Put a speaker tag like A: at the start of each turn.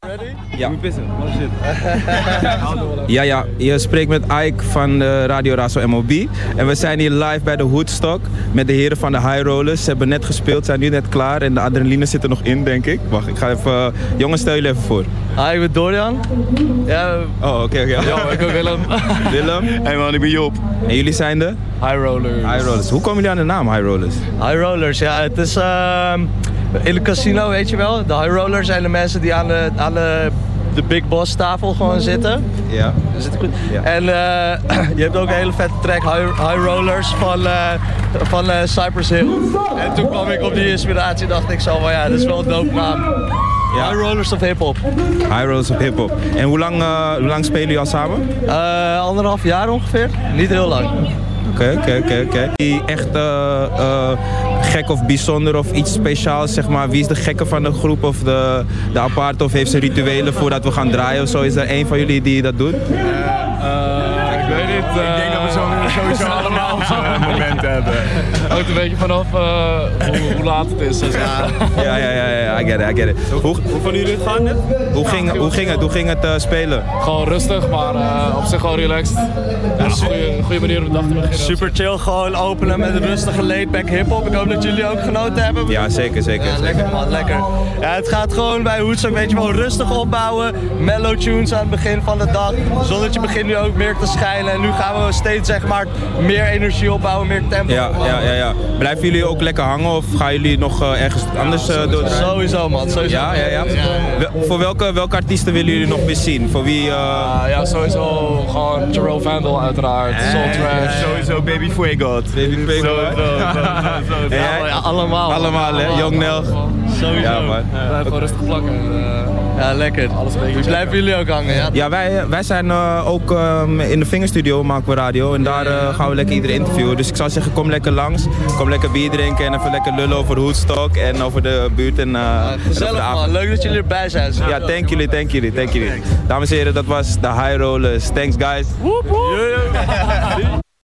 A: Ready?
B: Ja.
A: moet pissen. Wat is dit?
B: Ja, ja, je spreekt met Ike van eh, Radio Razo MOB. En we zijn hier live bij de Hoedstock met de heren van de High Rollers. Ze hebben net gespeeld, zijn nu net klaar en de adrenaline zit er nog in, denk ik. Wacht, ik ga even... eh, jongens, stel jullie even voor.
A: Hi, ik ben Dorian. Ja,
B: Oh, oké, oké.
A: ja ik ook Willem.
B: Willem.
C: Hey man, ik ben Job.
B: En jullie zijn de
A: High Rollers.
B: High Rollers. Hoe komen jullie aan de naam High Rollers?
A: High Rollers, ja, het is ehm, in het casino, weet je wel. De High Rollers zijn de mensen die aan de, aan de, de Big Boss tafel gewoon zitten.
B: Ja.
A: Zit het goed?
B: Ja.
A: En eh, je hebt ook een hele vette track, High, High Rollers van, eh, van eh, Cypress Hill. En toen kwam ik op die inspiratie dacht ik zo van ja, dat is wel een dope naam.
B: Ja.
A: High Rollers of Hip Hop.
B: High Rollers op hip-hop. En hoe lang, eh, hoe lang spelen jullie al samen?
A: Eh, anderhalf jaar ongeveer, niet heel lang.
B: Oké, oké, oké, oké. Die echt eh, eh, gek of bijzonder of iets speciaals, zeg maar. Wie is de gekke van de groep of de, de apart of heeft ze rituelen voordat we gaan draaien of zo? Is er één van jullie die dat doet?
D: ik weet niet.
C: Oh, Ik denk dat we zo, sowieso allemaal onze momenten hebben.
D: hangt een beetje vanaf eh, hoe, hoe laat het is. dus, eh, zeg maar.
B: Ja, ja, ja, ja, I get it, I get it. Hoe,
C: Van jullie het gaan net?
B: hoe, ging, hoe ging het, hoe ging het eh, spelen?
D: Gewoon rustig, maar eh, op zich gewoon relaxed. Ja, een goede, goede manier om de dag te beginnen.
A: Super chill, gewoon openen met een rustige laidback hip-hop. Ik hoop dat jullie ook genoten hebben.
B: Ja, zeker, zeker.
A: Ja, lekker man, lekker. Ja, het gaat gewoon bij Hoedstok, weet je wel, rustig opbouwen. Mellow tunes aan het begin van de dag. Zonnetje begint nu ook meer te schijnen. En nu gaan we steeds, zeg maar, meer energie opbouwen, meer tempo
B: Ja,
A: opbouwen.
B: ja, ja, ja. Blijven jullie ook lekker hangen of gaan jullie nog eh, ergens anders eh, door?
A: Sowieso man, sowieso.
B: Ja, ja, ja. Wel- voor welke, welke artiesten willen jullie nog weer zien? Voor wie? eh,
D: Ah, ja, sowieso gewoon Terrell Vandal uiteraard. Soul Trash.
C: Sowieso Baby Fuego.
B: Baby Fuego. En jij?
A: Ja, allemaal.
B: Allemaal, hè? Jong Nel.
A: Sowieso.
B: Ja, man.
D: Blijf gewoon rustig plakken. eh.
A: Ja, lekker. Alles dus blijven jullie ook hangen, ja?
B: Ja, wij, wij zijn eh, ook ehm, in de Vingerstudio maken we radio en daar eh, gaan we lekker iedereen interviewen. Dus ik zou zeggen, kom lekker langs, kom lekker bier drinken en even lekker lullen over Hoedstok en over de buurt en, eh, en over de
A: Gezellig man,
B: avond.
A: leuk dat jullie erbij zijn.
B: Ja, thank jullie, thank jullie, thank jullie. Dames en heren, dat was de High Rollers. Thanks guys.
A: Yo, yo.